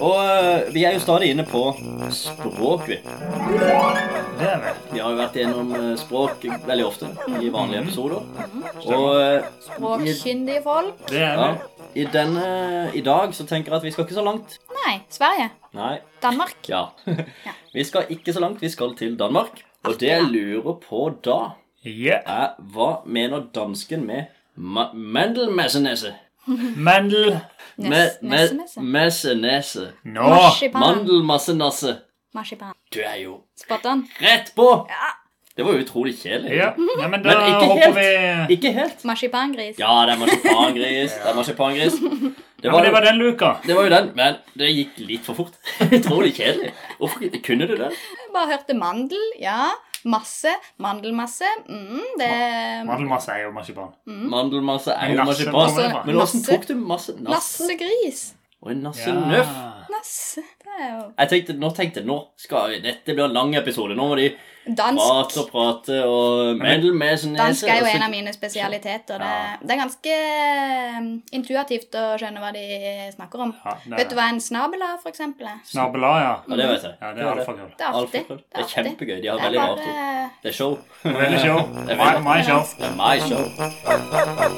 Og eh, vi er jo stadig inne på språk, vi. Det er vel. Vi har jo vært gjennom eh, språk veldig ofte i vanlige episoder. Og eh, Språkkyndige folk? Det er ja, vel. i denne I dag så tenker jeg at vi skal ikke så langt. Nei. Sverige? Nei. Danmark? Ja. Vi skal ikke så langt. Vi skal til Danmark. Og det jeg lurer på da, Ja. er hva mener dansken med ma mandelmessenese? Mandel. Nes- Nessemesse? Messenese. Nå. Marsipan? Mandelmassenasse. Marsipan. Du er jo Spot on. rett på! Det var jo utrolig kjedelig. Ja. ja, men da Men ikke håper helt. vi Ikke helt. Marsipangris. Ja, det er marsipangris. Det er marsipangris. Det ja, men var, Det var den luka. det var jo den, men det gikk litt for fort. Utrolig kjedelig. Hvorfor kunne du det? Jeg bare hørte mandel. Ja. Masse. Mandelmasse. Mm, det Mandelmasse er jo marsipan. Mm. Mandelmasse er jo Nasse- marsipan. Nasse- Men hvordan Nasse. tok du masse Nasse? Nassegris. Og en nassenøff. Nasse. Det er jo Jeg tenkte, nå tenkte jeg, nå skal vi, dette blir en lang episode. Nå må de prate Dansk. og prate og Mandelmessenese. Dansk er jo og så- en av mine spesialiteter. Det, Ja. det er ganske um, intuitivt å skjønne hva de snakker om. Ja, det er Vet du det. hva en snabel er, for eksempel? er? Snabela, ja. Ja, det vet jeg. Ja, det er alfakrøll. Det er artig. Alfakrøll. Det er artig. kjempegøy. De har Det er veldig rart ord. bare Det er show. Veldig show. er My, veldig- my show. Det er my show.